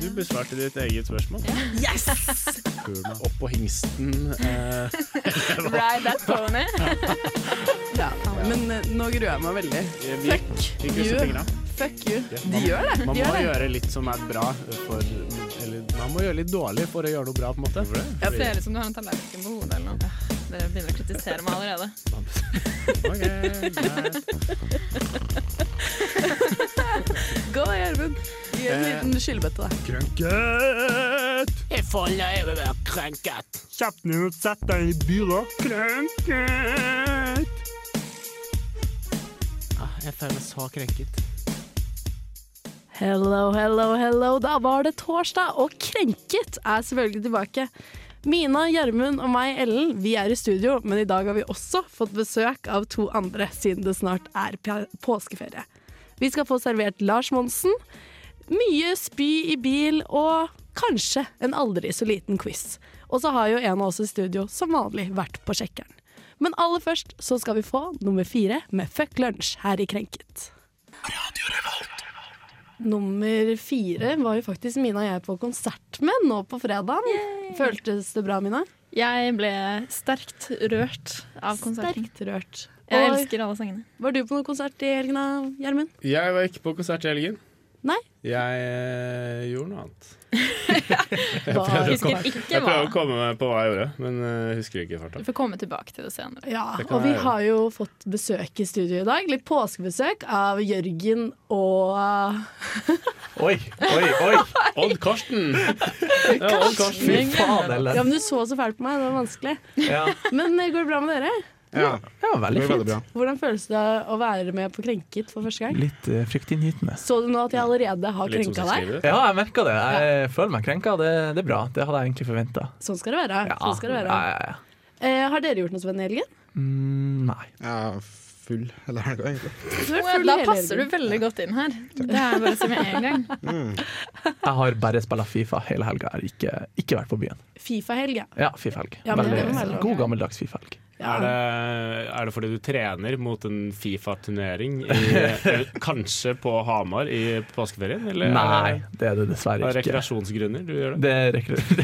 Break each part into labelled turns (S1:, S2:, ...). S1: Du besvarte ditt eget spørsmål.
S2: Yes!
S1: Før meg opp på hingsten. Eh,
S3: Ride that pony.
S2: Ja, men eh, nå gruer jeg meg veldig.
S1: vi
S2: Fuck
S1: vi krysser
S2: you.
S1: fingra.
S2: Fuck you.
S1: Ja,
S2: De
S1: man- Man
S2: gjør det. De
S1: må
S2: gjør det.
S1: gjøre litt som er bra for Eller man må gjøre litt dårlig for å gjøre noe bra, på en måte.
S3: Ja, ser ut som du har en tallerken på hodet eller noe. Dere begynner å kritisere meg allerede.
S1: Ok, greit.
S2: Gå da, Gjermund. Gi en
S1: Eh.
S2: liten skyllebøtte, da.
S1: Krenket! Jeg får lære å være krenket. Kjapt ned og sett deg i bilen. Krenket!
S2: Ah,
S1: jeg føler meg så krenket.
S2: Hello, hello, hello. Da var det torsdag, og Krenket er selvfølgelig tilbake. Mina, Gjermund og meg, Ellen, vi er i studio, men i dag har vi også fått besøk av to andre, siden det snart er pe- påskeferie. Vi skal få servert Lars Monsen, mye spy i bil og kanskje en aldri så liten quiz. Og så har jo en av oss i studio som vanlig vært på sjekkeren. Men aller først så skal vi få nummer fire med Fuck Lunsj her i Krenket. Nummer fire var jo faktisk Mina og jeg på konsert med nå på fredag. Føltes det bra, Mina?
S3: Jeg ble sterkt rørt av konserten.
S2: Sterkt rørt.
S3: Jeg
S2: Og
S3: elsker alle sangene.
S2: Var du på noen konsert i helgen, da, Gjermund?
S1: Jeg var ikke på konsert i helgen.
S2: Nei?
S1: Jeg eh, gjorde noe annet.
S2: Var-
S3: Husker ikke
S1: Jeg
S3: hva.
S1: prøver å komme meg på hva jeg gjorde, men eh, husker ikke i farta.
S3: Du får komme tilbake til det senere.
S2: Ja,
S1: Det kan
S2: og vi
S1: jeg gjøre.
S2: har jo fått besøk i studio i dag. Litt påskebesøk av Jørgen og eh,
S1: Oi, oi, oi! Odd Karsten! Ja, Odd Karsten.
S4: Fy faen, Ellen.
S2: Ja, men du så så fælt på meg, det var vanskelig.
S4: Ja.
S2: Men eh, går det bra med dere?
S4: Ja, veldig fint.
S2: Hvordan føles det å være med på Krenket for første gang?
S4: Litt eh, fryktinngytende.
S2: Så du nå at jeg allerede har
S1: Litt som
S2: krenka deg?
S1: sexlivet.
S4: Ja, jeg merka det. Jeg føler meg krenka. Det, det er bra. Det hadde jeg egentlig forventa.
S2: Sånn skal det være. Sånn skal det være.
S4: ja, ja, ja.
S2: Eh, har dere gjort noe spennende i helgen?
S4: Mm, nei.
S5: Jeg er full hele helga, egentlig.
S2: Du har
S3: Da
S2: vært full hele
S3: passer
S2: helgen.
S3: du veldig godt inn her. Det er bare å si med en gang.
S5: Mm.
S4: Jeg har bare spilla Fifa hele helga. Jeg har Ikke, ikke vært på byen.
S2: Fifa-helg, ja.
S4: Ja, Fifa-helg.
S2: Ja, men det
S4: veldig,
S2: er veldig ok.
S4: god gammeldags Fifa-helg.
S2: ja.
S1: Er det, er det fordi du trener mot en Fifa-turnering, i- eller kanskje på Hamar i påskeferien? Eller
S4: Nei,
S1: er
S4: det er det
S1: det av
S4: dessverre ikke.
S1: rekreasjonsgrunner du gjør det?
S4: Det er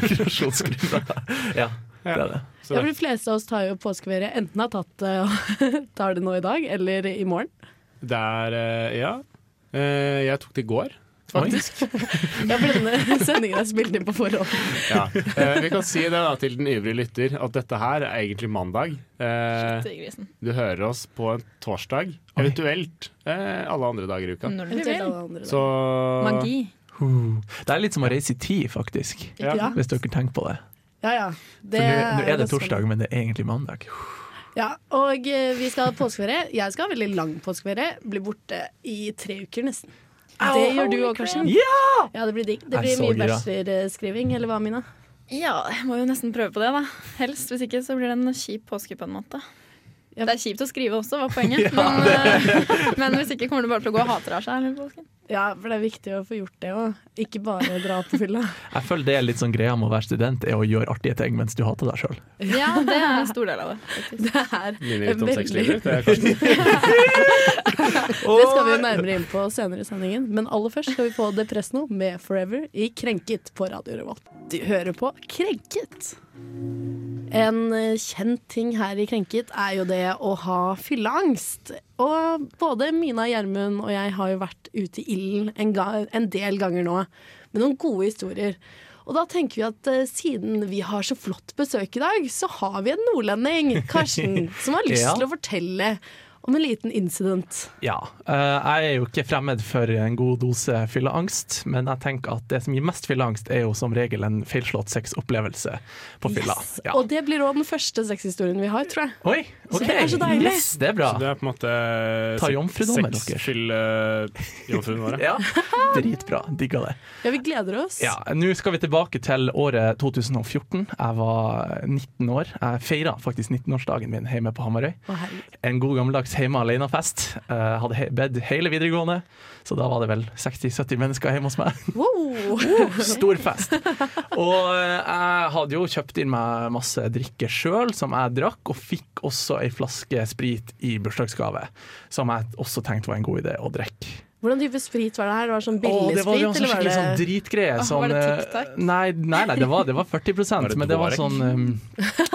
S4: rekre rekreasjonsgrunner. ja, det er det.
S1: Så
S2: Ja, for De fleste av oss tar jo påskeferie enten har tatt det og tar det nå i dag, eller i morgen.
S1: det er eh, Ja. Eh, Jeg tok det i går.
S4: Faktisk.
S2: Ja, for denne sendingen er spilt inn på forhånd.
S1: Eh, Vi kan si det da til den ivrige lytter at dette her er egentlig mandag. Eh,
S3: Til grisen.
S1: Du hører oss på en torsdag, eventuelt eh, alle andre dager i uka.
S2: Mm.
S3: Når du
S2: Eventuelt
S3: vil.
S2: alle andre
S1: Så
S2: dager.
S3: Magi.
S4: Uh, Det er litt som å reise i tid, faktisk.
S1: ja.
S2: Ja,
S4: Hvis dere tenker på det.
S2: ja. ja.
S4: For nå- Nå er det
S2: ganske-
S4: torsdag, men det er egentlig mandag.
S2: Ja, og eh, vi skal ha påskeferie. Jeg skal ha veldig lang påskeferie. Blir borte i tre uker nesten. Det
S3: Au,
S2: gjør du
S3: holy
S2: òg, Karsten.
S3: crap.
S2: Ja, det blir digg. Det
S4: Jeg
S2: blir
S4: så
S2: mye
S4: gira.
S2: bachelorskriving, eller hva, Mina?
S3: Ja, jeg må jo nesten prøve på det, da. Helst. Hvis ikke så blir det en kjip påske på en måte.
S2: Ja.
S3: Det er kjipt å skrive også, var poenget. men, eh, men hvis ikke kommer du bare til å gå og hate deg sjæl hele påsken.
S2: Ja, for det er viktig å få gjort det òg. Ikke bare dra på fylla.
S4: Jeg føler det er litt sånn greia med å være student, er å gjøre artige ting mens du hater deg sjøl.
S3: Ja, det er en stor del av det. faktisk.
S2: Det er
S1: Minner litt om
S2: veldig-
S1: sexlivet. Det er kanskje
S2: Det skal vi jo nærmere inn på senere i sendingen, men aller først skal vi få Depresno med 'Forever' i Krenket på Radio Revolt. Du hører på Krenket. En eh, kjent ting her i Krenket er jo det å ha fylleangst. Og både Mina Gjermund og jeg har jo vært ute i ilden en, ga en del ganger nå med noen gode historier. Og da tenker vi at eh, siden vi har så flott besøk i dag, så har vi en nordlending, Karsten, som har lyst
S4: Ja.
S2: til å fortelle om en liten incident.
S4: Ja. eh, Jeg er jo ikke fremmed for en god dose fylleangst, men jeg tenker at det som gir mest fylleangst, er jo som regel en feilslått sexopplevelse på fylla.
S2: Yes.
S4: Ja.
S2: Og det blir òg den første sexhistorien vi har, tror jeg.
S4: Oi, ok.
S2: det er så deilig.
S4: Yes, det er bra.
S1: Det er på en måte eh,
S4: Ta jomfrudommen deres.
S1: Sexfyll eh, jomfruen vår.
S4: Ja, Dritbra. Digga det.
S2: Ja, vi gleder oss.
S4: Ja, Nå skal vi tilbake til året 2014. Jeg var 19 år. Jeg feira faktisk 19-årsdagen min hjemme på Hamarøy.
S2: Å, herregud.
S4: en god gammeldags hjemme alene-fest. Eh, hadde he bedt hele videregående, så da var det vel 60-70 mennesker hjemme hos meg.
S2: Wow.
S4: Stor fest. Og eh, jeg hadde jo kjøpt inn meg masse drikke sjøl, som jeg drakk, og fikk også ei flaske sprit i bursdagsgave, som jeg også tenkte var en god idé å drikke.
S2: Hvordan type sprit var det her? Det var sånn
S4: Åh,
S2: billig
S4: det var
S2: sprit,
S4: jo sånn
S2: eller var
S4: skikkelig
S2: det
S4: sånn dritgreie.
S3: Åh,
S4: Sånn,
S3: var det
S4: eh,
S3: Tic Tac?
S4: nei, nei, nei, det var, det var 40
S1: Var det
S4: men det var
S1: Dvorek?
S4: sånn um,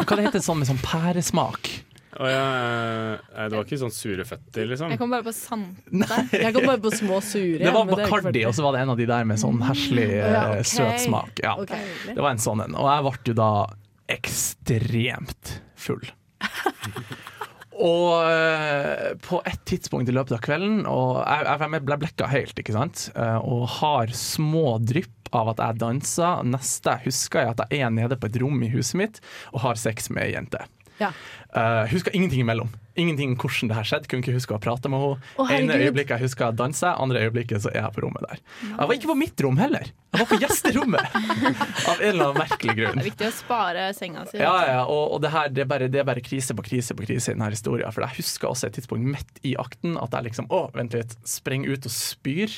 S4: Hva det heter det sånn med sånn pæresmak?
S1: Og jeg, nei, det var ikke sånn sure føtter, liksom.
S3: Jeg kom bare på sand.
S2: Jeg kom bare på små sure.
S4: Det var
S2: men er jo ikke
S4: Bacardi, og så var det en av de der med sånn herselig
S2: Å, ja,
S4: eh,
S2: ok.
S4: søt smak. Ja.
S2: Ok.
S4: Det var en sånn en. Og jeg ble jo da ekstremt full. Og eh, på et tidspunkt i løpet av kvelden Og jeg, jeg ble blekka helt, ikke sant? Eh, Og har små drypp av at jeg danser. Neste jeg husker, er at jeg er nede på et rom i huset mitt og har sex med ei jente.
S2: Ja.
S4: Uh, husker ingenting imellom. Ingenting om hvordan det her skjedde. Kunne ikke huske å prate med henne.
S2: Å, herregud.
S4: ene øyeblikket jeg husker jeg danser, andre øyeblikket så er jeg på rommet der. Jeg var ikke på mitt rom heller. Jeg var på gjesterommet! av en eller annen merkelig grunn.
S3: Det er viktig å spare senga si.
S4: Ja, ja, og, og det her det er, bare, det er bare krise på krise på krise i denne historien. For jeg husker også et tidspunkt midt i akten at jeg liksom Å, vent litt. Spreng ut og spyr.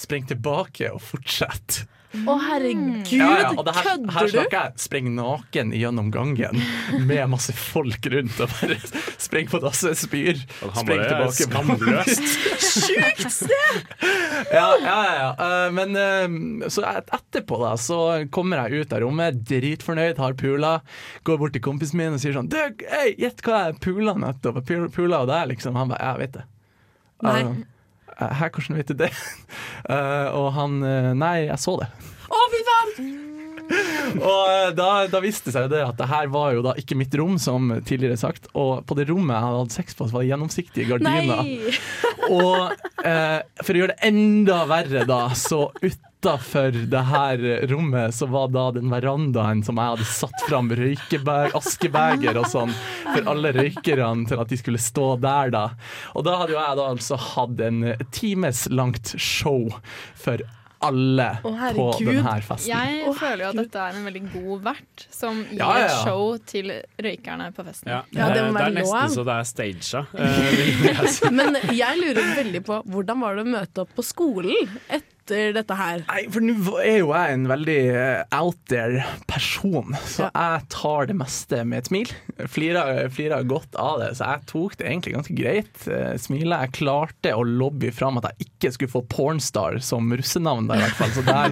S4: Spreng tilbake og fortsett.
S2: Å, herregud,
S4: og det her, her
S2: kødder du?
S4: snakker jeg spreng naken gjennom gangen med masse folk rundt og bare spreng på dasset, spyr.
S1: Og han
S4: Spreng
S1: bare er
S4: tilbake.
S1: skamløst.
S4: Ja, ja, ja. Eh, Men eh, så et- etterpå da, så kommer jeg ut av rommet, dritfornøyd, har pula. Går bort til kompisen min og sier sånn «Du, hey, gjett hva jeg pula nettopp. Jeg pul- Pula og deg, liksom. Han bare ja, jeg vet det. Jeg
S2: Nei.
S4: var sånn, «Eh, Hæ, hvordan vet du det? Eh, og han eh, Nei, jeg så det.
S2: Å, fy faen!
S4: Og eh, da, da viste det seg jo det at det her var jo da ikke mitt rom, som tidligere sagt. Og på det rommet jeg hadde hatt sex på, så var det gjennomsiktige gardiner.
S2: Nei!
S4: Og eh, for å gjøre det enda verre, da, så utafor det her rommet så var da den verandaen som jeg hadde satt fram røykebag, askebeger og sånn for alle røykerne til at de skulle stå der, da. Og da hadde jo jeg da altså hatt en times langt show for alle på
S2: herregud.
S4: den her festen.
S3: Jeg
S2: Å,
S3: føler jo at
S2: herregud.
S3: dette er en veldig god vert som gir
S4: Ja, ja, ja.
S3: et show til røykerne på festen.
S1: Ja.
S2: Ja, det må
S1: Eh,
S2: være
S1: er nesten
S2: lov.
S1: så det er staged. eh, vil jeg si.
S2: Men jeg lurer veldig på hvordan var det å møte opp på skolen etter dette her?
S4: Nei, for nå er jo jeg en veldig eh, out there person, så jeg tar det meste med et smil. Flirer, eh, flirer godt av det, så jeg tok det egentlig ganske greit. Eh, Smilet. Jeg klarte å lobby fram at jeg ikke skulle få pornstar som russenavn der, i hvert fall. Så der,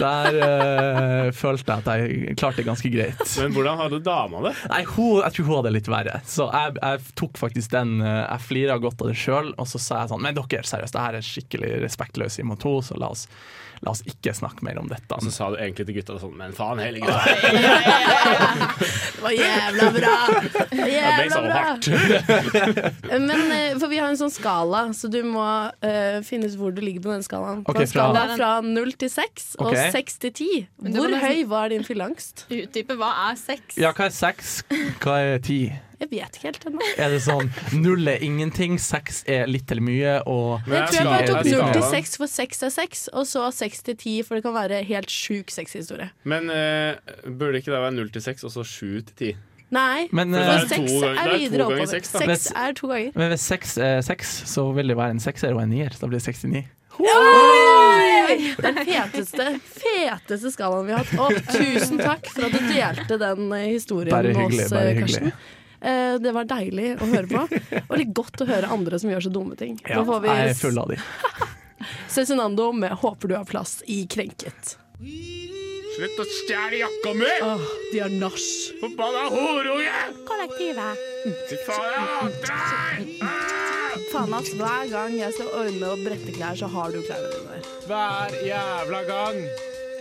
S4: der eh, følte jeg at jeg klarte det ganske greit.
S1: Men hvordan hadde dama det?
S4: Nei, hun, jeg tror hun hadde det litt verre. Så jeg, jeg tok faktisk den eh, Jeg flira godt av det sjøl, og så sa jeg sånn Men dere, seriøst, det her er skikkelig respektløst imot henne, så la oss, la oss ikke snakke mer om dette.
S1: Og så sa du egentlig til gutta sånn Men faen, hele gutta.
S2: Det var jævla bra! Det
S1: Det
S2: var
S1: ble
S2: Jævla
S1: så
S4: sånn,
S2: bra!
S1: hardt.
S2: Men, eh, for vi har en sånn skala, så du må eh, finne ut hvor du ligger på den skalaen. På
S4: Ok,
S2: en skala
S3: fra-
S2: fra null til seks og
S4: Ok.
S2: seks til ti.
S3: Men det liksom-
S2: Hvor
S3: var nesten-
S2: høy var din fylleangst?
S3: Utdype hva er sex?
S4: Ja, hva er seks? Hva er ti?
S2: Jeg vet ikke helt ennå.
S4: Er det sånn null er ingenting, seks er litt eller mye, og
S2: Jeg tror jeg bare tok
S4: jeg skal-
S2: null til seks, for seks er seks. Og så seks til ti, for det kan være helt sjuk sexhistorie.
S1: Men eh, burde ikke det være null til seks, og så sju til ti?
S2: Nei,
S4: Men,
S2: for
S4: eh,
S1: det er
S2: seks
S1: to ganger-
S2: er
S1: det er to
S2: videre
S1: ganger
S2: oppover.
S1: seks, da.
S2: Seks er to ganger.
S4: Men hvis seks er seks, så vil det være en sekser og en nier. Da blir det 69.
S2: Oi! Den feteste, feteste skalaen vi har hatt. Og tusen takk for at du delte den eh, historien
S4: Bare
S2: med
S4: hyggelig,
S2: oss,
S4: bare
S2: eh,
S4: hyggelig.
S2: Karsten. Eh, Det var deilig å høre på. Og litt godt å høre andre som gjør så dumme ting.
S4: Ja,
S2: Nå får vi
S4: jeg er full av de.
S2: Cezinando med 'Håper du har plass' i Krenket.
S1: Slutt å stjele jakka mi!
S2: Åh, de har nach.
S1: Forbanna horunge!
S2: Kollektivet.
S1: Fy faen, jeg hater deg!
S2: Faen ass, hver gang jeg skal ordne og brette klær, så har du klærne dine der.
S1: Hver jævla gang.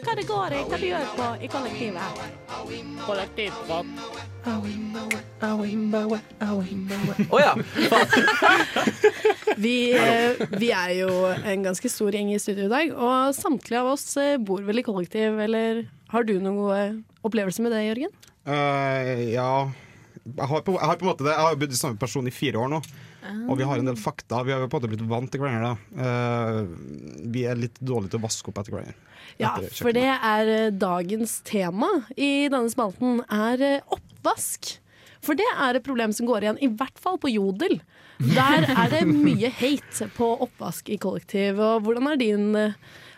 S6: Hva det går i, hva du gjør på i kollektivet.
S1: Kollektivprat.
S4: Å ja!
S2: Vi, eh, vi er jo en ganske stor gjeng i studio i dag, og samtlige av oss eh, bor vel i kollektiv, eller har du noen gode opplevelser med det, Jørgen?
S5: Eh, ja jeg har, på, jeg har på en måte det Jeg har bodd i samme person i fire år nå, og vi har en del fakta. Vi har på en måte blitt vant til hverandre. da. Eh, vi er litt dårlige til å vaske opp etter hverandre.
S2: Ja,
S5: Etter
S2: for det er eh, dagens tema i denne spalten, er eh, oppvask. For det er et problem som går igjen, i hvert fall på Jodel. Der er det mye hate på oppvask i kollektiv, og hvordan er din eh,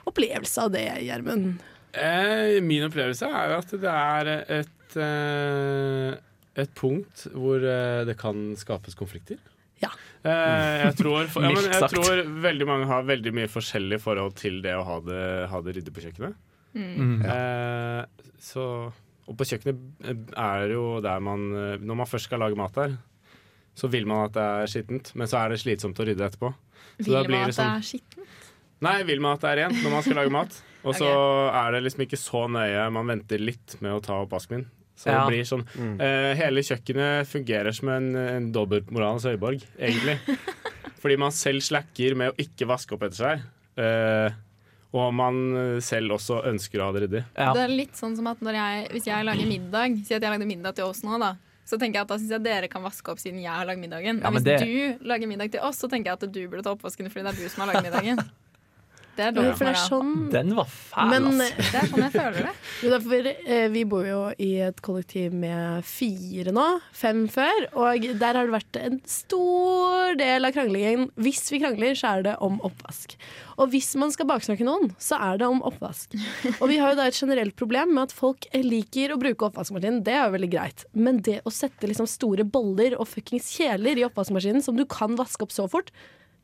S2: opplevelse av det, Gjermund?
S1: Eh, min opplevelse er jo at det er et eh, et punkt hvor eh, det kan skapes konflikter?
S2: Ja.
S1: Eh, jeg, tror, for, ja, men
S4: Mildt
S1: jeg
S4: sagt.
S1: tror veldig mange har veldig mye forskjellig forhold til det å ha det, ha det ryddig på kjøkkenet.
S4: Mm.
S1: Eh, så, og på kjøkkenet eh, er det jo der man eh, Når man først skal lage mat der, så vil man at det er skittent, men så er det slitsomt å rydde etterpå. Så da
S3: Vil
S1: blir
S3: man
S1: det
S3: at det
S1: sånn-
S3: er skitten?
S1: Nei, vil man at det er rent når man skal lage mat. Og så er det liksom ikke så nøye. Man venter litt med å ta opp vasken. Så
S4: Ja.
S1: det blir sånn eh, Hele kjøkkenet fungerer som en, en dobbeltmoralens høyborg, egentlig. Fordi man selv slacker med å ikke vaske opp etter seg. eh, og man selv også ønsker å ha det ryddig.
S4: Ja.
S3: Det er litt sånn som at når jeg, hvis jeg lager middag Si at jeg lagde middag til oss nå, da. Så tenker jeg at da syns jeg dere kan vaske opp siden jeg har lagd middagen.
S4: Ja,
S3: men
S4: men
S3: hvis du lager middag til oss, så tenker jeg at du burde ta oppvasken fordi det er du som har lagd middagen. Det er
S2: Jo,
S3: dårlig
S2: for det er
S3: moral.
S2: sånn
S4: Den var fæl,
S2: Men
S4: ass.
S3: Det er sånn jeg føler det.
S2: jo, derfor, eh, vi bor jo i et kollektiv med fire nå, fem før, og der har det vært en stor del av kranglingen. Hvis vi krangler, så er det om oppvask. Og hvis man skal baksnakke noen, så er det om oppvask. Og vi har jo da et generelt problem med at folk liker å bruke oppvaskmaskinen, det er jo veldig greit, men det å sette liksom store boller og fuckings kjeler i oppvaskmaskinen som du kan vaske opp så fort,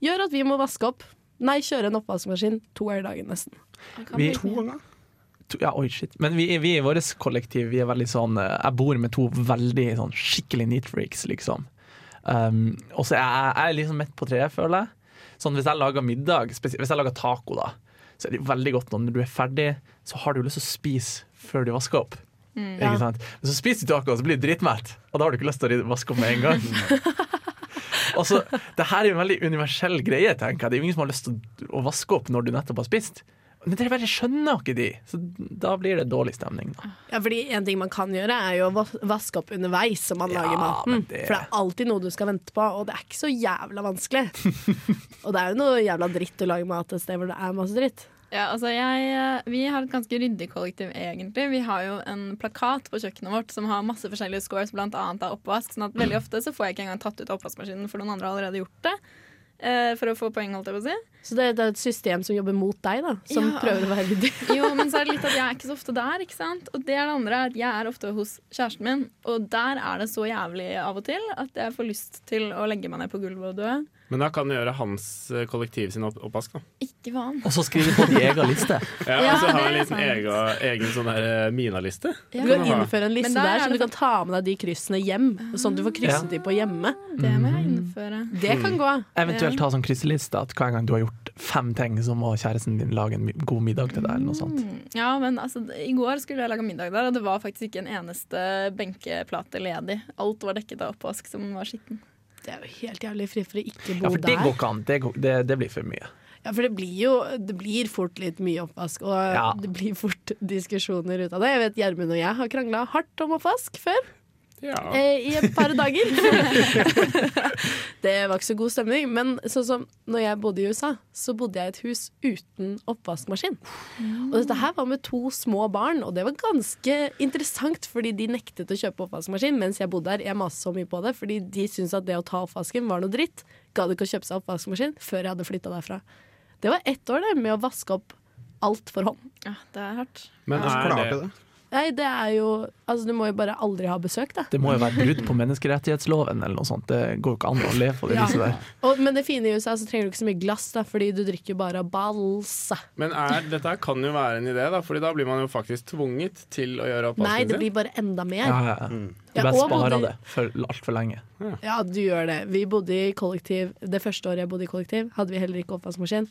S2: gjør at vi må vaske opp. Nei, kjøre en oppvaskmaskin to ganger i dagen nesten.
S3: Det kan
S4: Vi-
S3: bli-
S5: To ganger.
S4: To- Ja, oi, shit. Men vi, vi i vårt kollektiv Vi er veldig sånn eh, Jeg bor med to veldig sånn skikkelig neatfreaks, liksom. Um, og så er jeg, jeg er liksom midt på treet, føler jeg. Sånn Hvis jeg lager middag, spesi- hvis jeg lager taco, da, så er det jo veldig godt når du er ferdig, så har du lyst til å spise før du vasker opp. Ikke sant? Men så spiser du taco, og så blir du dritmett, og da har du ikke lyst til å rydde- vaske opp med en gang. Og så, Altså, det her er jo en veldig universell greie, tenker jeg. Det er jo ingen som har lyst til å vaske opp når du nettopp har spist. Men dere bare skjønner ikke de, så da blir det dårlig stemning. Da.
S2: Ja, fordi En ting man kan gjøre, er jo å vas- vaske opp underveis som man
S4: Ja,
S2: lager maten.
S4: men det-
S2: For det er alltid noe du skal vente på, og det er ikke så jævla vanskelig. og det er jo noe jævla dritt å lage mat et sted hvor det er masse dritt.
S3: Ja, altså jeg, Vi har et ganske ryddig kollektiv, egentlig. Vi har jo en plakat på kjøkkenet vårt som har masse forskjellige scores, bl.a. av oppvask. sånn at veldig ofte så får jeg ikke engang tatt ut av oppvaskmaskinen, for noen andre har allerede gjort det. eh, For å få poeng, holdt jeg på å si.
S2: Så det, det er et system som jobber mot deg, da. Som
S3: Ja.
S2: prøver å være ryddig.
S3: Jo, men så er det litt at jeg er ikke så ofte der, ikke sant? Og det er det andre, at jeg er ofte hos kjæresten min, og der er det så jævlig av og til at jeg får lyst til å legge meg ned på gulvet og dø.
S1: Men da kan du gjøre hans eh, kollektiv sin opp oppvask, da.
S3: Ikke faen.
S4: Og så skriver på din egen liste.
S1: Ja,
S3: Ja,
S1: og så ha
S3: det
S1: en
S3: er
S1: liten egen, egen sånn der eh, Mina-liste.
S2: Du
S1: Kan
S2: kan
S1: ha.
S2: innføre en liste
S3: Men der
S2: der,
S3: er
S2: så
S3: det
S2: du kan ta med deg de kryssene hjem. Sånn
S4: Ah.
S2: at du får krysset de på hjemme.
S3: Det må jeg innføre.
S2: Det kan gå.
S4: Eventuelt ta sånn krysseliste at hver gang du har gjort fem ting, så må kjæresten din lage en mi- god middag til deg, eller noe
S3: Mm.
S4: sånt.
S3: Ja, men altså, I går skulle jeg lage middag der, og det var faktisk ikke en eneste benkeplate ledig. Alt var dekket av oppvask som var skitten.
S2: Det er jo helt jævlig fri for å ikke
S4: Ja,
S2: bo
S4: for det
S2: der.
S4: går ikke an. Det, går, det, det blir for mye.
S2: Ja, for det blir jo det blir fort litt mye oppvask, og
S4: Ja.
S2: det blir fort diskusjoner ut av det. Jeg vet Gjermund og jeg har krangla hardt om oppvask før,
S1: Ja.
S2: eh, i et par dager. det var ikke så god stemning. Men sånn som når jeg bodde i USA, så bodde jeg i et hus uten oppvaskmaskin. Og dette her var med to små barn, og det var ganske interessant, fordi de nektet å kjøpe oppvaskmaskin mens jeg bodde der. Jeg maste så mye på det, fordi de syntes at det å ta oppvasken var noe dritt. Gadd ikke å kjøpe seg oppvaskmaskin før jeg hadde flytta derfra. Det var ett år det, med å vaske opp alt for hånd.
S3: Ja, det er hardt.
S1: Men
S5: Hvordan
S1: er
S5: klarte
S1: det
S5: du det?
S2: Nei, det er jo Altså, du må jo bare aldri ha besøk, da.
S4: Det må jo være brudd på menneskerettighetsloven eller noe sånt. Det går jo ikke an å leve på det
S2: Ja.
S4: viset der.
S2: Og, men det fine i USA så trenger du ikke så mye glass, da, fordi du drikker bare av balsa.
S1: Men er, dette her kan jo være en idé, da, Fordi da blir man jo faktisk tvunget til å gjøre oppvasken
S2: Nei, det
S1: sin.
S2: blir bare enda mer.
S4: Ja,
S2: Ja.
S4: ja, ja. Du
S2: Ja,
S4: bare
S2: og
S4: sparer
S2: både-
S4: det for altfor lenge.
S2: du gjør det. Vi bodde i kollektiv det første året jeg bodde i kollektiv, hadde vi heller ikke oppvaskmaskin.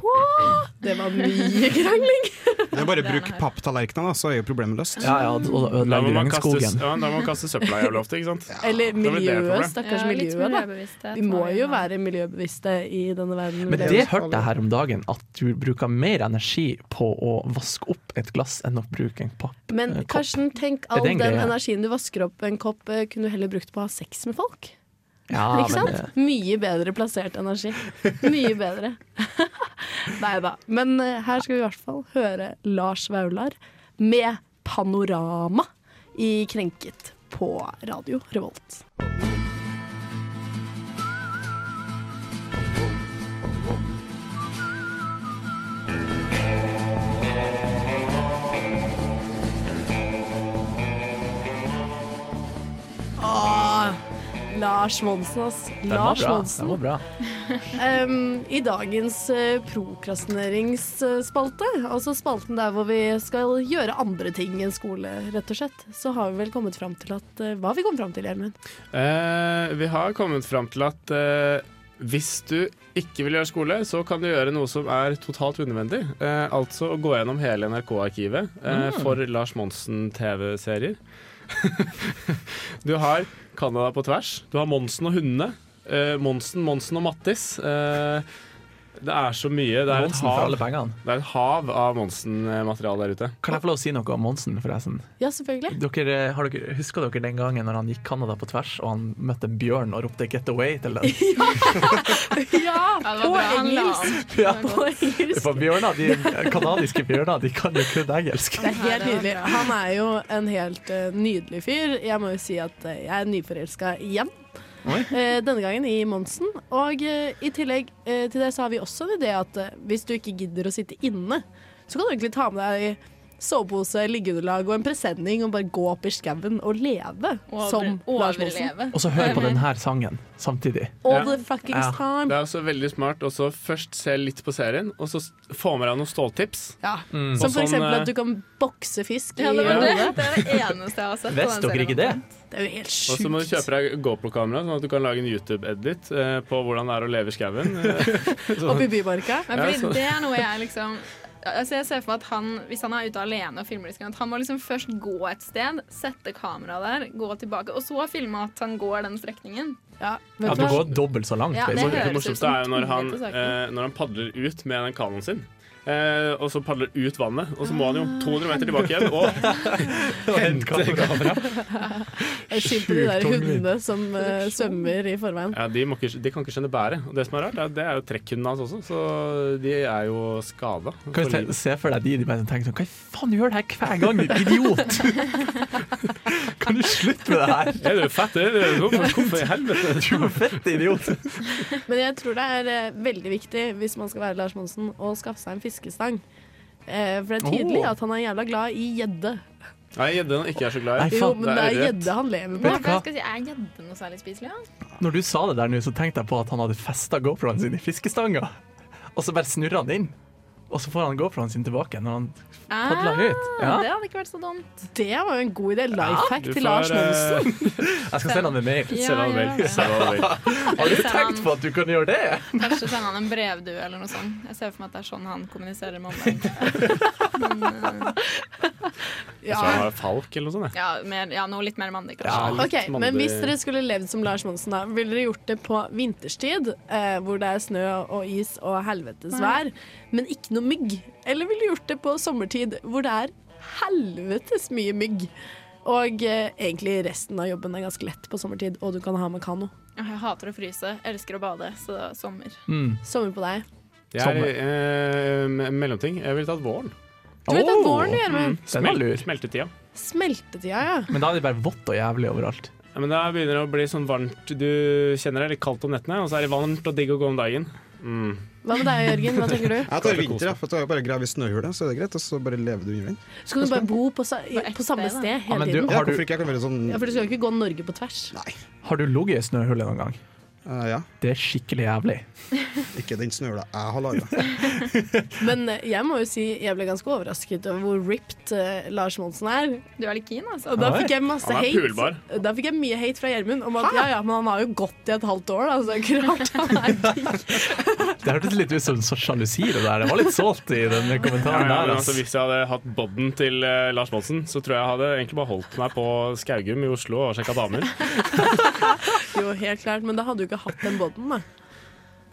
S2: Hå! Det var mye krangling.
S5: Det er bare å
S3: er
S5: bruke
S3: her.
S5: papptallerkenene, da, så er jo problemet løst.
S4: Ja, ja, og
S1: Da må
S4: ødelegger
S1: man kaste,
S4: regnskogen.
S1: ja, da må man kaste søpla jævlig ofte, ikke sant?
S2: Eller
S1: blir det et
S2: miljøet.
S1: problem.
S2: Stakkars
S3: ja, litt
S2: miljøet, da.
S3: miljøbevissthet
S2: Vi må
S3: må vi
S2: jo
S3: ha.
S2: være miljøbevisste i denne verden. vi
S4: Men
S2: lever i.
S4: Mm. det hørte jeg her om dagen, at du bruker mer energi på å vaske opp et glass enn å bruke en papp.
S2: Men
S4: eh, kopp.
S2: Karsten, tenk all
S4: det en
S2: den
S4: greie?
S2: energien du vasker opp en kopp, eh, kunne du heller brukt på å ha sex med folk.
S4: Ja,
S2: ikke
S4: men,
S2: sant?
S4: eh,
S2: Mye bedre plassert energi. Mye bedre. Nei da. Men eh, her skal vi i hvert fall høre Lars Vaular med 'Panorama' i Krenket på Radio Revolt. Ah, Lars Monsen, ass.
S4: Den var
S2: Lars
S4: bra. Den
S2: Monsen.
S4: var bra.
S2: Em, I dagens eh, prokrastineringsspalte, altså spalten der hvor vi skal gjøre andre ting enn skole, rett og slett, så har vi vel kommet fram til at eh, Hva har vi kommet fram til, Gjermund?
S1: Eh, vi har kommet fram til at eh, hvis du ikke vil gjøre skole, så kan du gjøre noe som er totalt unødvendig. Eh, altså å gå gjennom hele NRK-arkivet eh, for Lars Monsen-TV-serier. du har Canada på tvers. Du har Monsen og hundene. Eh, Monsen, Monsen og Mattis. Eh, det er så mye. Det er et
S4: Monsen for
S1: hav,
S4: alle pengene.
S1: det er et hav av Monsen-materiale der ute.
S4: Kan jeg få lov å si noe om Monsen, forresten?
S2: Ja, selvfølgelig.
S4: Dere, har dere, husker dere den gangen når han gikk Canada på tvers, og han møtte en bjørn og ropte 'get away' til den?
S3: Ja,
S2: Ja,
S3: det var
S2: på
S3: bra han la
S2: engelsk!
S3: om.
S4: Ja.
S3: Det var
S2: På
S3: godt.
S2: engelsk.
S4: For bjørner, de kanadiske bjørner, de kan jo kun engelsk.
S2: Det er helt
S3: Ja, det var
S2: nydelig. Han er jo en helt eh, nydelig fyr. Jeg må jo si at eh, jeg er nyforelska igjen.
S4: Oi.
S2: Eh, denne gangen i Monsen. Og eh, i tillegg eh, til det så har vi også en idé at eh, hvis du ikke gidder å sitte inne, så kan du egentlig ta med deg sovepose, liggeunderlag og en presenning og bare gå opp i skauen og leve
S3: Over-
S2: som Lars Monsen.
S3: Overleve.
S4: Og så hør på denne sangen samtidig.
S2: All
S1: Ja.
S2: the fucking
S4: Ja.
S1: Det
S2: time.
S1: er også veldig smart å først se litt på serien, og så s- få med deg noen ståltips.
S2: Ja. Som
S1: Og
S2: for
S1: sånn,
S2: eksempel
S1: eh,
S2: at du kan bokse fisk i
S3: Ja, det var det.
S2: hodet.
S3: Det er det eneste jeg har sett. på
S4: Visste
S3: den
S4: dere ikke det?
S3: serien.
S2: Det er jo helt
S1: Og så må du
S2: sjukt.
S1: kjøpe deg GoPro-kamera, sånn at du kan lage en YouTube-edit eh, på hvordan det er å leve i skauen. Eh,
S2: Oppe i Bymarka.
S3: Men
S1: Ja,
S3: fordi
S1: så-
S3: det er noe jeg liksom Altså jeg ser for meg at han, Hvis han er ute alene og filmer, liksom, at han må liksom først gå et sted, sette kameraet der, gå tilbake, og så filme at han går den strekningen.
S2: Ja,
S4: Ja,
S2: vet du
S4: du
S2: hva?
S4: går dobbelt så langt.
S3: Ja, det
S4: basically.
S3: hører
S1: det
S3: høres ut
S1: morsomste
S3: som
S1: er jo når han,
S3: tungvinte saker.
S1: eh, når han padler ut med den kanoen sin. Eh, og så padler ut vannet, og så må han jo 200 meter tilbake igjen. Og
S4: Hente kamera.
S2: Jeg skimper de der
S4: Sjukt tungvint.
S2: hundene som eh, svømmer i forveien.
S1: ja, de, må ikke, de kan ikke skjønne bæret. Og det som er rart, er, at det er jo trekkhundene hans også, så de er jo skada.
S4: Kan du te- se for deg de, de bare tenker sånn Hva faen gjør du her hver gang, din idiot? Kan du slutte med det her?
S1: Er du fett? Er du, hvorfor, hvorfor i helvete?
S4: Du er en fett idiot.
S2: Men jeg tror det er eh, veldig viktig, hvis man skal være Lars Monsen, å skaffe seg en fiskestang. Eh, for det er tydelig
S4: Åh.
S2: at han er jævla glad i gjedde.
S1: Nei, gjedde han ikke er så glad i.
S4: Nei,
S2: Jo,
S4: faen,
S2: men det
S1: det er
S2: er
S1: rett.
S2: gjedde han lever på.
S4: Vet du
S3: Men
S4: hva?
S3: jeg skal si, Er gjedde noe særlig spiselig? Ja?
S4: Når du sa det der nå, så tenkte jeg på at han hadde festa GoPro-en sin i fiskestanga. Og så bare snurra han inn. Og så får han GoPro-en sin tilbake når han Padla ut, ja.
S3: Ah, Det hadde ikke vært så dumt.
S2: Det var jo en god idé. Life hack
S1: Du
S2: til Lars
S1: får, eh,
S2: Monsen.
S4: Jeg skal sende han en mail.
S1: Se hva han
S3: Ja,
S1: vil.
S3: ja.
S1: Se hva han vil.
S4: Har du tenkt på at du kan gjøre det?
S3: Kanskje sender han en brevdue eller noe sånt. Jeg ser for meg at det er sånn han kommuniserer med omverdenen.
S1: Jeg tror han var falk eller noe sånt. jeg.
S3: Ja, mer, ja, noe litt mer mandig,
S1: Ja,
S3: kanskje.
S1: litt
S2: Ok,
S1: mandig.
S2: Men hvis dere skulle levd som Lars Monsen, da, ville dere gjort det på vinterstid, eh, hvor det er snø og is og helvetes vær, men ikke noe mygg? Eller ville dere gjort det på sommertid, hvor det er helvetes mye mygg? Og eh, egentlig resten av jobben er ganske lett på sommertid, og du kan ha med kano.
S3: Jeg hater å fryse, elsker å bade, så sommer.
S2: Sommer på deg.
S1: Jeg er i eh, me- mellomting. Jeg ville tatt våren. Mm.
S2: Du vet at
S4: Åh. Mm.
S2: våren gjør med
S4: Den var lur.
S1: smeltetida.
S2: smeltetida, ja.
S4: Men da er det bare vått og jævlig overalt.
S1: Ja, men Da begynner det å bli sånn varmt Du kjenner det litt kaldt om nettene, og så er det varmt og digg å gå om dagen. Mm.
S2: Hva med deg, Jørgen? Hva tenker du?
S5: Jeg tar vinter, ja, for da er jeg bare graver i snøhjulet, så er det greit. Og så bare lever du under den.
S2: Så kan du bare bo på, sa- i-
S3: ett
S2: på samme
S3: sted, da.
S2: sted
S4: Ja,
S2: hele
S4: men du,
S2: tiden.
S5: Ja,
S4: har,
S5: hvorfor
S4: du,
S5: ikke? Jeg kan være sånn
S2: Ja, For du skal jo ikke gå Norge på tvers.
S5: Nei.
S4: har du ligget i snøhullet noen gang?
S5: Eh, ja.
S4: Det er skikkelig jævlig.
S5: Ikke den snøhula jeg har laga.
S2: Men eh, jeg må jo si jeg ble ganske overrasket over hvor ripped eh, Lars Monsen er.
S3: Du er litt keen, altså.
S2: Og da
S4: Oi.
S2: fikk jeg masse
S1: Han er
S2: hate.
S1: pulbar.
S2: Da fikk jeg mye hate fra Gjermund om at ja, ja, men han har jo gått i et halvt år, da, så det er ikke rart han er
S4: Det hørtes litt ut som så sjalusi, det der. Det var litt sålt i den
S1: Ja,
S4: kommentaren
S1: ja,
S4: der.
S1: men altså,
S4: Altså.
S1: hvis jeg hadde hatt bodden til eh, Lars Monsen, så tror jeg jeg hadde egentlig bare holdt meg på Skaugum i Oslo og sjekka damer.
S2: jo helt klart, men da hadde du ikke hatt den båten, da.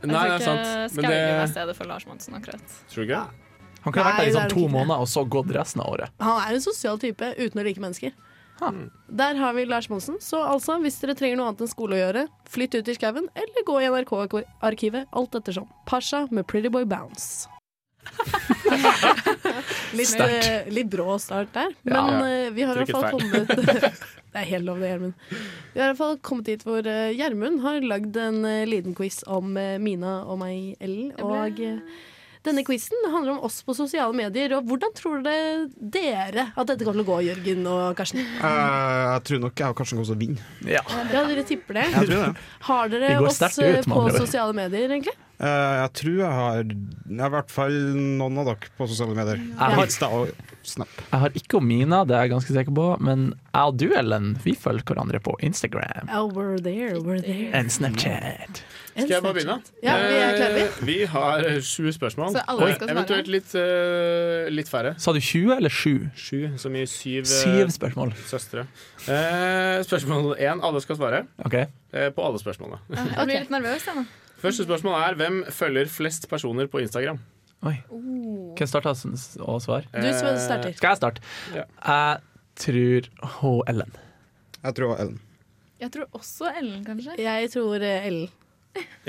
S1: Nei, det er sant.
S3: Skaugum
S1: Men
S3: er
S1: det
S3: stedet for Lars Monsen, akkurat.
S1: Tror du ikke?
S4: Han kunne vært der i
S2: Nei,
S4: sånn
S2: det er
S4: to
S2: nok ikke.
S4: måneder og så gått resten av året.
S2: Han er en sosial type uten å like mennesker.
S4: Mm.
S2: Der har vi Lars Monsen. Så altså, hvis dere trenger noe annet enn skole å gjøre, flytt ut i skauen eller gå i NRK-arkivet, alt ettersom. Pasha med Pretty Boy Bounce. litt,
S4: Sterkt.
S2: eh, litt brå start der,
S4: Ja.
S2: men eh, vi har i hvert fall kommet Det er helt lov, det, Gjermund. Vi har i hvert fall kommet hit hvor eh, Gjermund har lagd en eh, liten quiz om eh, Mina og meg, Ellen, og eh, Denne quizen handler om oss på sosiale medier. Og hvordan tror dere dere at dette kommer til å gå, Jørgen og Karsten?
S5: Eh, jeg tror nok jeg og Karsten kommer til å vinne.
S4: Ja.
S2: Ja, dere tipper det.
S5: Jeg tror det.
S2: Har dere
S4: Vi går
S2: oss eh,
S4: sterkt ut, med
S2: på
S4: andre ord.
S2: sosiale medier, egentlig?
S5: Eh, jeg tror jeg har Jeg har i hvert fall noen av dere på sosiale medier.
S4: Jeg har-
S5: Insta og Snap.
S4: Jeg har ikke Mina, det er jeg ganske sikker på, men jeg og du, Ellen, vi følger hverandre på Instagram
S2: Oh, we're there, we're there.
S4: and Snapchat.
S1: Skal jeg bare begynne?
S2: Ja, vi er klare, vi.
S1: Eh, Vi har eh, sju spørsmål.
S3: Så alle
S1: Eh,
S3: skal svare?
S1: Eventuelt litt, eh, litt færre.
S4: Sa du 20 eller 7?
S1: Sju, som i syv, eh,
S4: Syv spørsmål.
S1: søstre. Eh, spørsmål én. Alle skal svare
S4: OK.
S1: eh, på alle spørsmålene.
S3: Jeg blir litt nervøs, jeg nå.
S1: Første spørsmål er hvem følger flest personer på Instagram?
S4: Oi.
S3: Oh.
S4: Hvem starta å svare?
S2: Du som
S1: Eh,
S2: starter.
S4: Skal jeg starte?
S1: Ja.
S4: Jeg tror H. Ellen.
S5: Jeg tror Ellen.
S3: Jeg tror også Ellen, kanskje.
S2: Jeg tror eh, Ellen.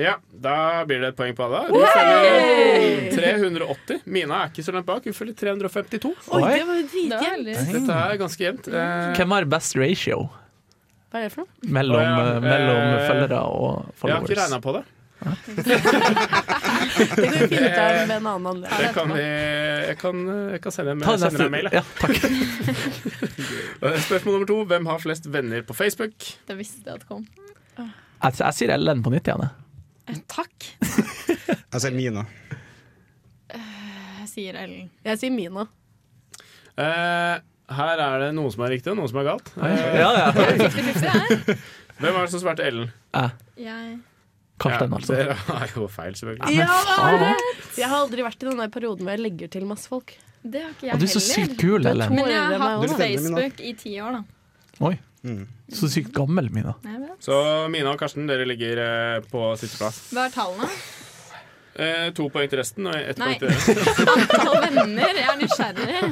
S1: Ja, da blir det et poeng på alle. Du følger 380. Mina er ikke så langt bak. Hun følger 352.
S2: Oi,
S4: Oi.
S2: det
S3: Det var
S2: var jo dritjevnt.
S3: heldig.
S1: Dette er ganske jevnt. Eh,
S4: Hvem har best ratio
S2: Hva er det for noe?
S4: mellom,
S1: Å, ja.
S4: eh, mellom
S1: Eh,
S4: følgere og
S1: jeg har ikke
S4: followers?
S1: regna på det.
S2: Det kan vi finne ut av ved en annen anledning.
S1: det kan vi, jeg, kan, jeg kan sende,
S4: Ta
S1: jeg
S4: neste.
S1: sender deg en mail. jeg.
S4: Ja, takk.
S1: Eh, Spørsmål nummer to. Hvem har flest venner på Facebook?
S3: Det visste jeg at kom.
S4: Jeg, jeg sier Ellen på nytt igjen. jeg.
S3: Eh, Takk.
S5: Jeg sier Mina.
S3: Jeg eh, sier Ellen.
S2: Jeg sier Mina.
S1: Eh, her er det noe som er riktig, og noe som er galt. Eh,
S4: Ja, ja.
S3: Fifty-fifty her.
S1: hvem er det som svarte Ellen?
S3: Jeg
S4: Karsten,
S1: Ja,
S4: altså.
S1: Dere har jo feil, selvfølgelig.
S2: Ja,
S4: faen.
S2: jeg har aldri vært i den der perioden hvor jeg legger til masse folk.
S3: Det har ikke jeg
S4: Og du er så
S3: heller.
S4: sykt kul,
S2: Du er
S4: Ellen.
S2: to-
S3: Men jeg
S2: Åh,
S3: har
S2: det er meg
S3: hatt
S5: også.
S3: Facebook i ti år, da.
S4: Oi,
S5: Mm.
S4: så sykt gammel, Mina.
S3: Jeg vet.
S1: Så Mina og Karsten, dere ligger eh, på sisteplass.
S3: Hva er tallene?
S1: Eh, to poeng til resten og ett poeng
S3: Nei.
S1: til dere.
S3: Tall venner? Jeg er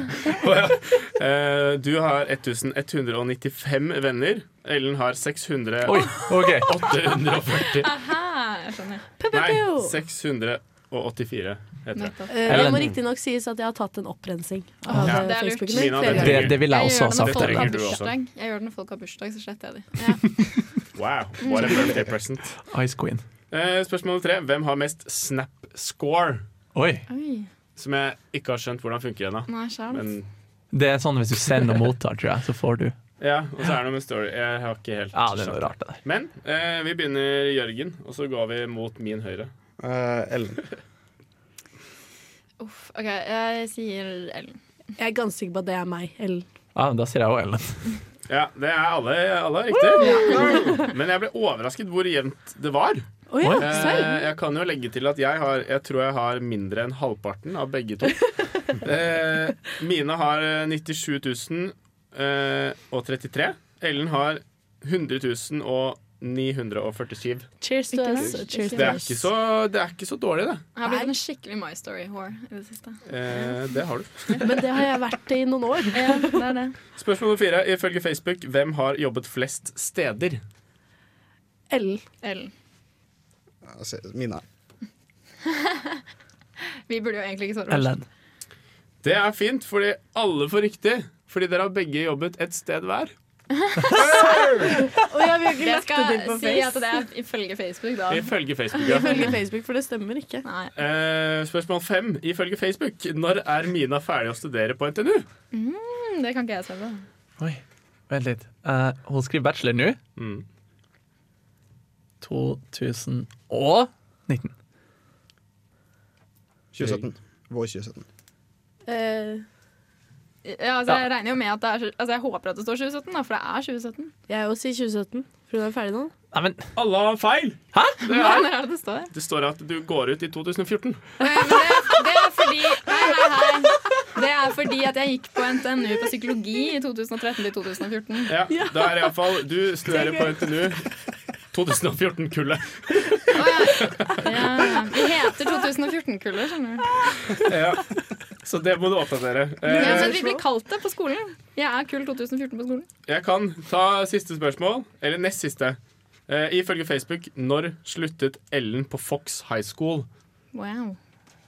S3: nysgjerrig.
S1: Eh, du har 1195 venner. Ellen har 600
S4: Oi, OK.
S1: 840
S3: Aha, jeg skjønner.
S1: Nei,
S2: pew.
S1: 684 heter det.
S3: Nettopp.
S2: Eh, Det
S4: Ellen.
S2: må riktignok sies at jeg har tatt en opprensing
S1: Ja.
S2: av eh,
S3: Det er lurt.
S2: Facebooken min.
S1: Mina,
S2: flere
S1: det
S2: ganger.
S4: Det, det ville jeg
S3: Jeg
S4: også
S3: gjør
S4: ha
S3: det når
S4: sagt.
S1: Dette
S3: folk har
S1: trenger du også.
S3: bursdag, Jeg gjør det når folk har bursdag, så sletter jeg de. Ja.
S1: Wow, what a birthday present.
S4: Ice Queen.
S1: Eh, spørsmål tre. Hvem har mest snap-score?
S4: Oi.
S3: Oi,
S1: Som jeg ikke har skjønt hvordan funker ennå.
S3: nei, skjerm.
S1: Men
S4: Det er sånn hvis du sender og mottar, tror jeg, så får du.
S1: ja, og så er det noe med story. Jeg har ikke helt
S4: Ja, det er
S1: skjønt
S4: noe rart, det der.
S1: Men eh, vi begynner Jørgen, og så går vi mot min høyre.
S5: Eh, Ellen.
S3: Uff, ok, jeg sier Ellen.
S2: Jeg er ganske sikker på at det er meg. Ellen.
S4: Ja, men da sier jeg òg Ellen.
S1: Ja, det er alle, alle er riktig. Men jeg ble overrasket hvor jevnt det var.
S2: Å ja,
S4: Oi.
S1: Eh,
S2: serr?
S1: jeg kan jo legge til at jeg, har, jeg tror jeg har mindre enn halvparten av begge to. Eh, Mina har eh, 97 000 eh, og 33. Ellen har 100 000 og 947.
S2: Cheers to
S3: Ikke
S2: us.
S3: verst,
S2: Cheers
S1: Det
S3: ikke
S2: to
S1: er
S2: us.
S1: ikke så, det er ikke så dårlig, det.
S3: Jeg har blitt en skikkelig My Story-whore i det siste.
S1: Eh, det har du.
S2: Men det har jeg vært i noen år.
S3: Ja, det er det.
S1: Spørsmål nummer fire. Ifølge Facebook, hvem har jobbet flest steder?
S2: Ellen.
S3: Ellen.
S5: Jeg sier Mina.
S3: Vi burde jo egentlig ikke svare. på
S4: Ellen.
S1: Det er fint, fordi alle får riktig. Fordi dere har begge jobbet et sted hver.
S2: Og jeg vil
S3: det.
S2: ikke
S3: Jeg
S2: lagt det til
S3: skal
S2: på
S3: si at
S2: Face.
S3: det er ifølge Facebook, da.
S1: Ifølge Facebook, ja.
S2: Ifølge Facebook, for det stemmer ikke.
S3: Nei.
S1: Eh, spørsmål fem. Ifølge Facebook, når er Mina ferdig å studere på NTNU?
S3: Mm, Det kan ikke jeg svare på.
S4: Oi, vent litt. Eh, hun skriver bachelor nå.
S1: Mm.
S4: 2019.
S5: 2017. Vår 2017.
S2: Eh,
S3: Ja, altså,
S4: Ja.
S3: jeg regner jo med at det er Altså, jeg håper at det står 2017, da, for det er 2017.
S2: jeg er også i 2017. For hun er ferdig nå.
S4: Nei, men
S1: Alle har feil!
S3: Hva er det det står?
S1: Det står at du går ut i 2014.
S3: Nei, men Det, det er fordi Nei, nei, nei. Det er fordi at jeg gikk på NTNU på psykologi i 2013 til 2014.
S1: Ja, Da er iallfall du studerer på NTNU 2014-kullet.
S3: Å, ja. Ja. Vi heter 2014-kullet, skjønner du.
S1: Ja. Så det må du oppdatere.
S3: Ja,
S1: Eh,
S3: men vi blir kalt det på skolen. Jeg er kull 2014 på skolen.
S1: jeg kan ta siste spørsmål, eller nest siste. Eh, ifølge Facebook, når sluttet Ellen på Fox High School?
S3: Wow.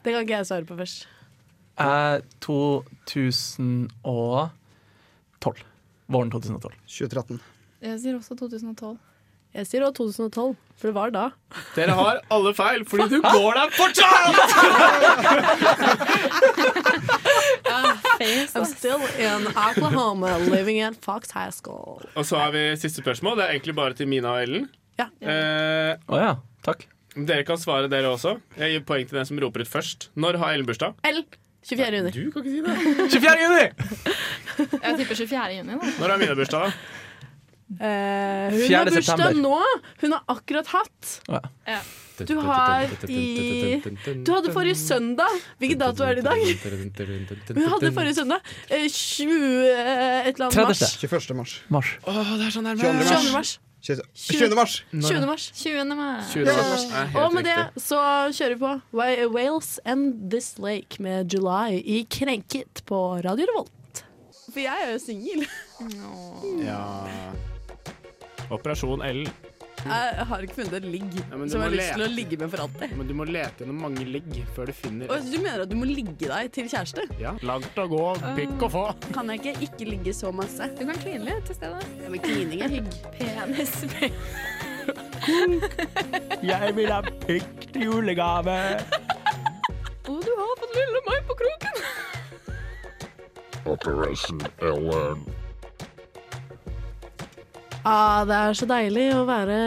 S2: Det kan ikke jeg svare på først.
S4: eh, 2012. Våren 2012.
S5: 2013.
S3: Jeg sier også 2012.
S2: Jeg sier også 2012, for det var da.
S1: Dere har alle feil, fordi du går der fortsatt!
S3: Face,
S2: I'm still in Oklahoma, living at Fox High School.
S1: Og så har vi siste spørsmål. Det er egentlig bare til Mina og Ellen.
S2: Ja.
S1: Eh,
S4: Å ja. Takk.
S1: dere kan svare, dere også. Jeg gir poeng til den som roper ut først. Når har Ellen bursdag?
S2: L. 24. juni.
S1: Du kan ikke si det.
S4: 24. juni!
S3: da. Jeg tipper 24. juni. Da.
S1: Når har Mina bursdag, da?
S2: Eh, hun har
S4: Fjerde
S2: bursdag
S4: september.
S2: nå! Hun har akkurat hatt. Du har i- Du hadde forrige søndag. Hvilken dato er det i dag? Hun hadde forrige søndag. eh, 20 eh, et eller annet
S4: 30.
S2: mars.
S5: 21. mars.
S4: Mars.
S1: Åh, det er så nærme.
S5: 22.
S2: 20.
S5: mars.
S2: mars.
S5: 20. mars.
S2: 20. mars.
S3: 20. mars.
S1: 20. mars er helt
S2: Og med
S1: riktig.
S2: det så kjører vi på Wa- Wales and This Lake med July i Krenket på Radio Revolt. For jeg er jo singel.
S3: Nå.
S1: Ja. Operasjon L.
S2: Jeg har ikke funnet en ligg
S1: men du må
S2: som jeg har lyst til å
S1: lete.
S2: ligge med for alltid.
S1: Men du må lete gjennom mange legg før du finner
S2: Og Du mener at du må ligge deg til kjæreste?
S1: Ja. Langt å gå, pikk å få.
S2: Kan jeg ikke ikke ligge så masse?
S3: Du kan kline litt til stedet.
S2: Ja, Men klining er hygg.
S3: Penis.
S4: Jeg vil ha pikk til julegave.
S3: Å, du har fått lille meg på kroken!
S7: Operation LM.
S2: Ah, det er så deilig å være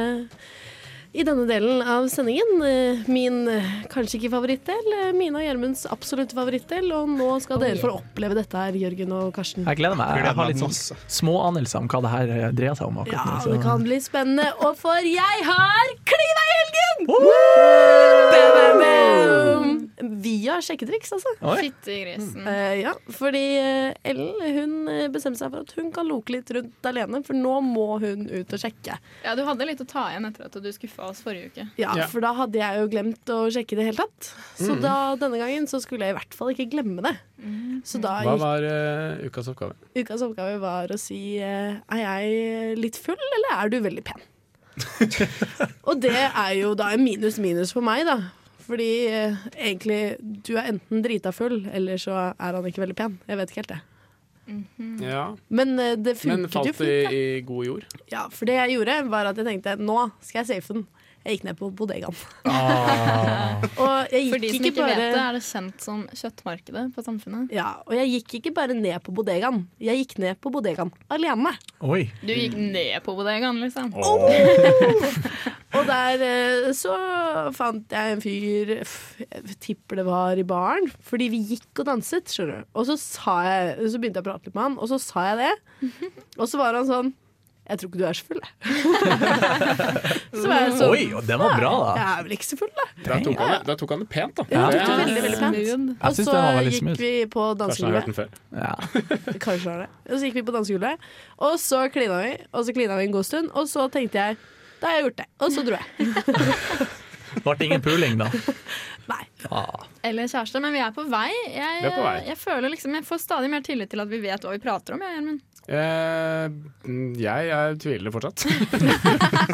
S2: i denne delen av sendingen. Eh, Min eh, kanskje ikke favorittdel, eh, Mina og Gjermunds absolutt favorittdel. Og nå skal dere få oppleve dette her, Jørgen og Karsten.
S4: Jeg gleder meg. Jeg
S5: Gleder
S4: har
S5: meg
S4: litt sånn
S5: masse.
S4: små anelser om hva det her eh, dreier seg om.
S2: Ja,
S4: akkurat
S2: det
S4: nå, så-
S2: kan bli spennende. Og for jeg har klina i helgen! Bam! Via sjekketriks, altså.
S4: Oi.
S3: Fyttegrisen.
S2: Eh, ja, fordi eh, Ellen hun eh, bestemte seg for at hun kan loke litt rundt alene, for nå må hun ut og sjekke.
S3: Ja, du hadde litt å ta igjen etter at du skuffa oss forrige uke.
S2: Ja,
S1: Ja. Mm.
S2: for da hadde jeg jo glemt å sjekke det hele tatt. Så da, denne gangen så skulle jeg i hvert fall ikke glemme det. Så da
S1: Hva
S2: gikk
S1: var eh, ukas oppgave?
S2: ukas oppgave var å si eh, Er jeg litt full, eller er du veldig pen? Og det er jo da en minus minus for meg, da. Fordi eh, egentlig du er enten drita full, eller så er han ikke veldig pen. Jeg vet ikke helt det.
S1: Ja.
S2: Men eh, det
S1: Men
S2: funket
S1: falt
S2: jo
S1: det
S2: fint.
S1: i god jord?
S2: da. Ja, for det jeg gjorde, var at jeg tenkte nå skal jeg safe den. Jeg gikk ned på bodegaen.
S4: Ah.
S2: Og jeg gikk
S3: For de som
S2: ikke,
S3: ikke
S2: bare
S3: vet det, er det kjent som kjøttmarkedet på Samfunnet.
S2: Ja, og jeg gikk ikke bare ned på bodegaen. Jeg gikk ned på bodegaen alene.
S4: Oi.
S3: Du gikk
S1: Mm.
S3: ned på bodegaen, liksom.
S2: Og der eh, så fant jeg en fyr f- Jeg tipper det var i baren, fordi vi gikk og danset, skjønner du. Og så, sa jeg, så begynte jeg å prate litt med han, og så sa jeg det. Og så var han sånn Jeg tror ikke du er så full, jeg. så var jeg sånn
S4: Oi, og den var bra, da.
S2: Jeg er vel ikke så full, da.
S1: Da tok han det, da tok han det pent, da.
S2: Ja,
S4: Ja.
S2: det er veldig, veldig pent.
S3: Smooth.
S4: Jeg
S2: Og
S4: synes
S2: så
S4: den var veldig
S2: gikk
S4: smooth.
S2: vi på
S1: Kanskje han har hørt
S2: dansegulvet.
S1: den før.
S4: Ja.
S2: Kanskje var det. Og så gikk vi på dansegulvet, og så klina vi, og så klina vi en god stund, og så tenkte jeg da har jeg gjort det. Og så dro jeg.
S4: Det ble ingen puling, da.
S2: Nei.
S4: Ah.
S3: Eller kjæreste, men vi er på vei. Jeg,
S1: Vi er på vei.
S3: jeg føler liksom, jeg får stadig mer tillit til at vi vet hva vi prater om. Jeg, Gjermund.
S1: Eh, mm, jeg, jeg tviler fortsatt.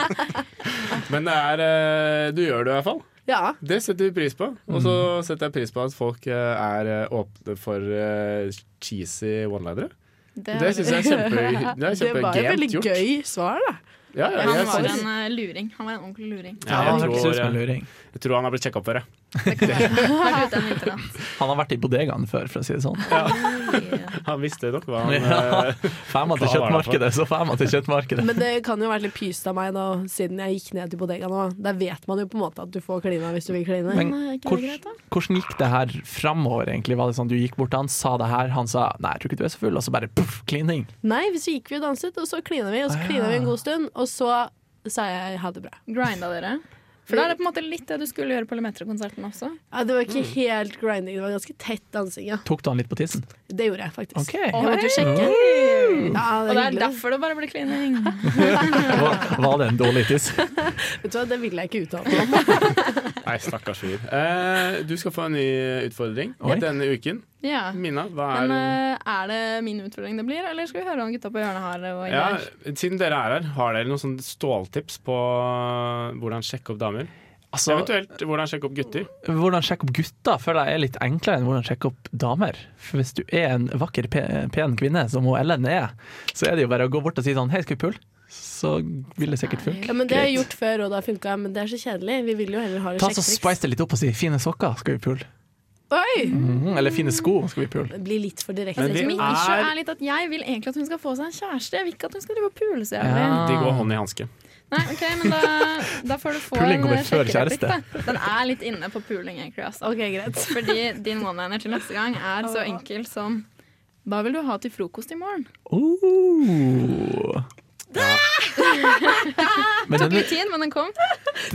S1: Men det er eh, Du gjør det i hvert fall.
S2: Ja.
S1: Det setter vi pris på. Og så setter jeg pris på at folk eh, er eh, åpne for eh, cheesy one-linere. Det syns jeg er kjempe- det er
S2: Det var et veldig
S1: kjempegent gjort.
S2: gøy svar, da.
S1: Ja, ja,
S3: Han
S1: jeg
S3: var
S1: synes-
S3: en eh, luring. Han var en ordentlig luring.
S1: Ja,
S4: han
S1: jeg,
S4: hørtes ut som en
S1: tror, eh,
S4: luring.
S1: jeg tror han har blitt sjekka opp før, jeg.
S3: Vært ute en vinternatt.
S4: Han har vært i bodegaen før, for å si det sånn.
S1: Han visste nok hva han
S4: Ja.
S1: eh,
S4: Fær meg
S1: Hva var det
S4: til
S1: for?
S4: kjøttmarkedet, så fær meg til kjøttmarkedet.
S2: Men det kan jo være litt pyst av meg, da, siden jeg gikk ned til bodegaen nå. Der vet man jo på en måte at du får klina hvis du vil kline.
S4: Men
S3: Nei, er ikke det
S4: hvordan,
S3: greit, da?
S4: hvordan gikk det her framover, egentlig? Var det sånn du gikk bort til han, sa det her, han sa nei, jeg tror ikke du er så full, og så bare poff, klining.
S2: Nei, hvis vi gikk vi og danset, og så klina vi, og så
S4: Ah, ja.
S2: klina vi en god stund, og så sa jeg ha det bra.
S3: Grinda dere? For da er det på en måte litt det du skulle gjøre på Lemetre-konserten også.
S2: Ja, det var ikke
S1: Mm.
S2: helt grinding, det var ganske tett dansing, ja.
S4: Tok du han litt på tissen?
S2: Det gjorde jeg faktisk.
S4: OK.
S2: Jeg måtte jo sjekke.
S1: Mm.
S3: Og det
S2: Ja,
S3: er
S2: hyggelig, da.
S3: derfor det bare blir klining.
S4: Var, var det en dårlig tiss?
S2: Vet du hva, det vil jeg ikke uttale meg om.
S1: Nei, stakkars fyr. Eh, du skal få en ny utfordring
S4: Oi.
S1: denne uken.
S3: Ja.
S1: Mina, hva er
S3: Men eh, er det min utfordring det blir, eller skal vi høre om gutta på hjørnet har det? Og
S1: ja,
S3: ideer?
S1: Siden dere er her, har dere noen sånne ståltips på eh, hvordan sjekke opp damer?
S4: Altså,
S1: Eventuelt hvordan sjekke opp gutter?
S4: hvordan sjekke opp gutter føler jeg er litt enklere enn hvordan sjekke opp damer. For hvis du er en vakker, pe- pen kvinne, som hun Ellen er, så er det jo bare å gå bort og si sånn hei, skal vi pulle? så vil det sikkert funke.
S2: Ja, men Det har jeg gjort før, og det har funka, men det er så kjedelig. Vi vil jo heller ha det
S4: Ta så Spice det litt opp og si 'fine sokker, skal vi pule'?
S2: Oi!
S4: Mhm, eller 'fine sko, skal vi pule'?
S2: Det blir litt for direkte.
S1: Men vi
S3: Mitt issue
S1: er
S3: er litt at jeg vil egentlig at hun skal få seg en kjæreste. Jeg vil ikke at hun skal drive og pule så jævlig.
S4: Ja.
S1: De går hånd i hanske.
S3: Nei, ok, men da, da får du få
S4: Puling
S3: en
S4: kommer før
S3: sjekkereplikk, da. Den er litt inne på puling, egentlig. Altså.
S2: OK, greit.
S3: Fordi din one-liner til neste gang er så enkel som Hva vil du ha til frokost i morgen?
S4: Oh. Men
S3: Tok
S4: den,
S3: litt tid, men den kom.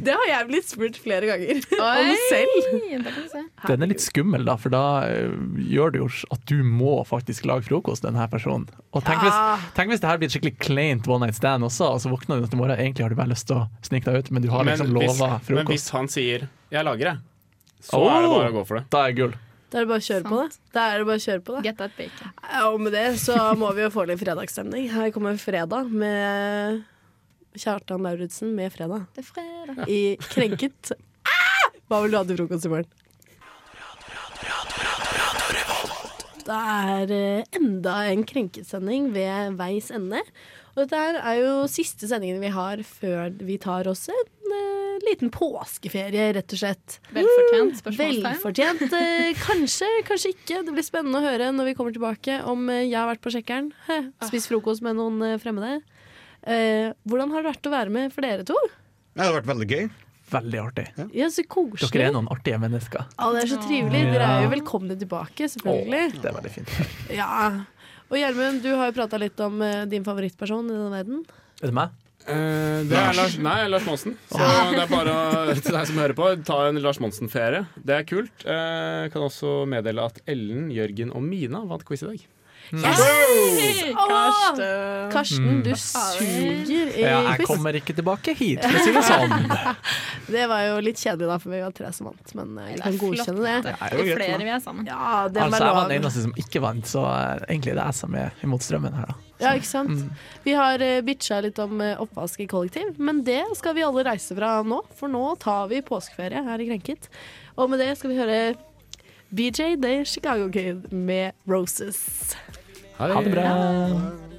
S2: Det har jeg blitt spurt flere ganger
S3: Oi!
S2: om selv.
S3: Da kan du se.
S4: den er litt skummel, da, for da eh, gjør det jo at du må faktisk lage frokost til denne personen. Og tenk
S2: Ja.
S4: hvis, tenk hvis det her blir et skikkelig kleint one night stand også, og så våkner du til morgenen egentlig har du bare lyst til å snike deg ut, men du har
S1: Men
S4: liksom
S1: hvis,
S4: lova
S1: men
S4: frokost.
S1: hvis han sier 'jeg lager det', så
S4: Oh.
S1: er det bare å gå for det.
S4: Da er jeg gull.
S2: Da er det bare å kjøre på det. Da er det bare å kjøre på det.
S3: Get that bacon.
S2: Og med det så må vi jo få litt fredagsstemning. Her kommer fredag med Kjartan Lauritzen med fredag
S3: Det er fredag.
S2: i Krenket. Ah! Hva vil du ha til frokost i morgen? Det er eh, enda en krenkesending ved veis ende. Og dette her er jo siste sendingen vi har før vi tar oss en eh, liten påskeferie, rett og slett.
S3: Velfortjent spørsmålstegn.
S2: Velfortjent. eh, Kanskje, kanskje ikke. Det blir spennende å høre når vi kommer tilbake om eh, jeg har vært på sjekkeren, Hæ, spist frokost med noen eh, fremmede. Eh, hvordan har det vært å være med for dere to?
S5: Det hadde vært veldig gøy.
S4: Veldig artig.
S2: Ja, så koselig.
S4: Dere er noen artige mennesker.
S2: Ja, det er så trivelig. Dere er jo velkomne tilbake, selvfølgelig.
S4: Det er veldig fint.
S2: Ja. Og Gjermund, du har jo prata litt om eh, din favorittperson i denne verden.
S4: Er det meg?
S1: Eh, det er Lars, nei, Lars Monsen. Så
S4: Ah.
S1: det er bare å- til deg som hører på, ta en Lars Monsen-ferie. Det er kult. Eh, kan også meddele at Ellen, Jørgen og Mina vant quiz i dag.
S4: Mm.
S3: Karsten.
S2: Karsten, du suger i
S4: Ja, jeg
S2: quiz.
S4: kommer ikke tilbake hit, for å si det sånn.
S2: Det var jo litt kjedelig, da, for vi var tre som vant, men eh, vi kan godkjenne det.
S3: Det er jo flere vi er sammen.
S2: Ja, det
S4: Altså, jeg var
S2: lov.
S4: den eneste som ikke vant, så eh, egentlig er det jeg som er imot strømmen her, da.
S2: Ja, ikke sant?
S4: Mm.
S2: Vi har eh, bitcha litt om eh, oppvask i kollektiv, men det skal vi alle reise fra nå, for nå tar vi påskeferie her i Krenket. Og med det skal vi høre BJ The Chicago Kid med Roses.
S4: Ha det bra.